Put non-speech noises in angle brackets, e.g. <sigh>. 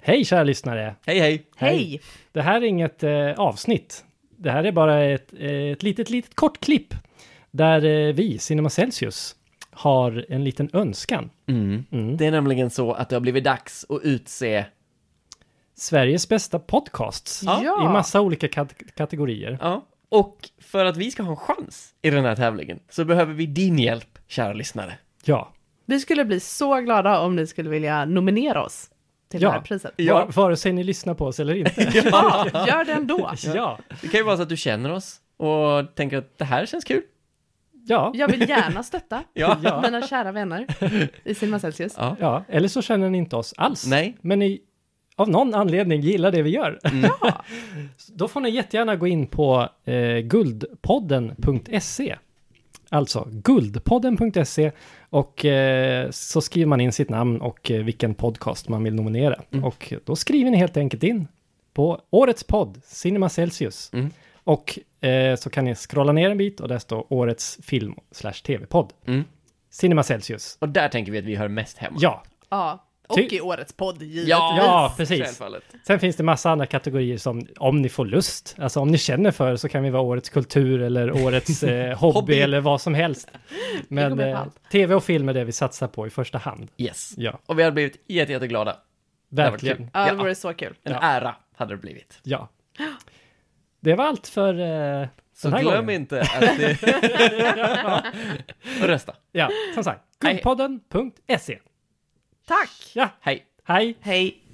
Hej kära lyssnare! Hej hej! Hej! Det här är inget eh, avsnitt. Det här är bara ett, eh, ett litet, litet kort klipp där eh, vi, Cinema Celsius, har en liten önskan. Det är nämligen så att det har blivit dags att utse... Sveriges bästa podcasts Ja. i massa olika kat- kategorier. Ja. Och för att vi ska ha en chans i den här tävlingen så behöver vi din hjälp, kära lyssnare. Ja, Vi skulle bli så glada om ni skulle vilja nominera oss till Ja. det här priset. Ja. Var, vare sig ni lyssnar på oss eller inte. <laughs> Ja, gör det ändå. ja, Det kan ju vara så att du känner oss och tänker att det här känns kul. ja, Jag vill gärna stötta Ja. Ja. mina kära vänner i Cinema Celsius. Ja. ja. Eller så känner ni inte oss alls. Nej. Mm. Men ni av någon anledning gillar det vi gör. <laughs> Ja. Då får ni jättegärna gå in på eh, guldpodden.se. Alltså guldpodden.se och eh, så skriver man in sitt namn och eh, vilken podcast man vill nominera. Mm. Och då skriver ni helt enkelt in på årets podd, Cinema Celsius. Mm. Och eh, så kan ni scrolla ner en bit och där står årets film slash tv-podd. Mm. Cinema Celsius. Och där tänker vi att vi hör mest hemma. Ja, ja. Och Ty- i årets podd, givetvis. Ja, Ja, precis. Självfallet. Sen finns det massa andra kategorier som om ni får lust, alltså om ni känner för så kan vi vara årets kultur eller årets eh, <laughs> hobby, Hobby. eller vad som helst. Men kommer på eh, allt. tv och film är det vi satsar på i första hand. Yes. Ja, Och vi hade blivit jätte, jätteglada. Det hade varit verkligen. kul. Ja, det Ja. vore så kul. En Ja. ära hade det blivit. Ja. Det var allt för eh, Så den här glöm gången. inte att det... <laughs> <laughs> och rösta. Ja, som sagt, guldpodden.se. Tack! Ja, Hej. hej! Hej!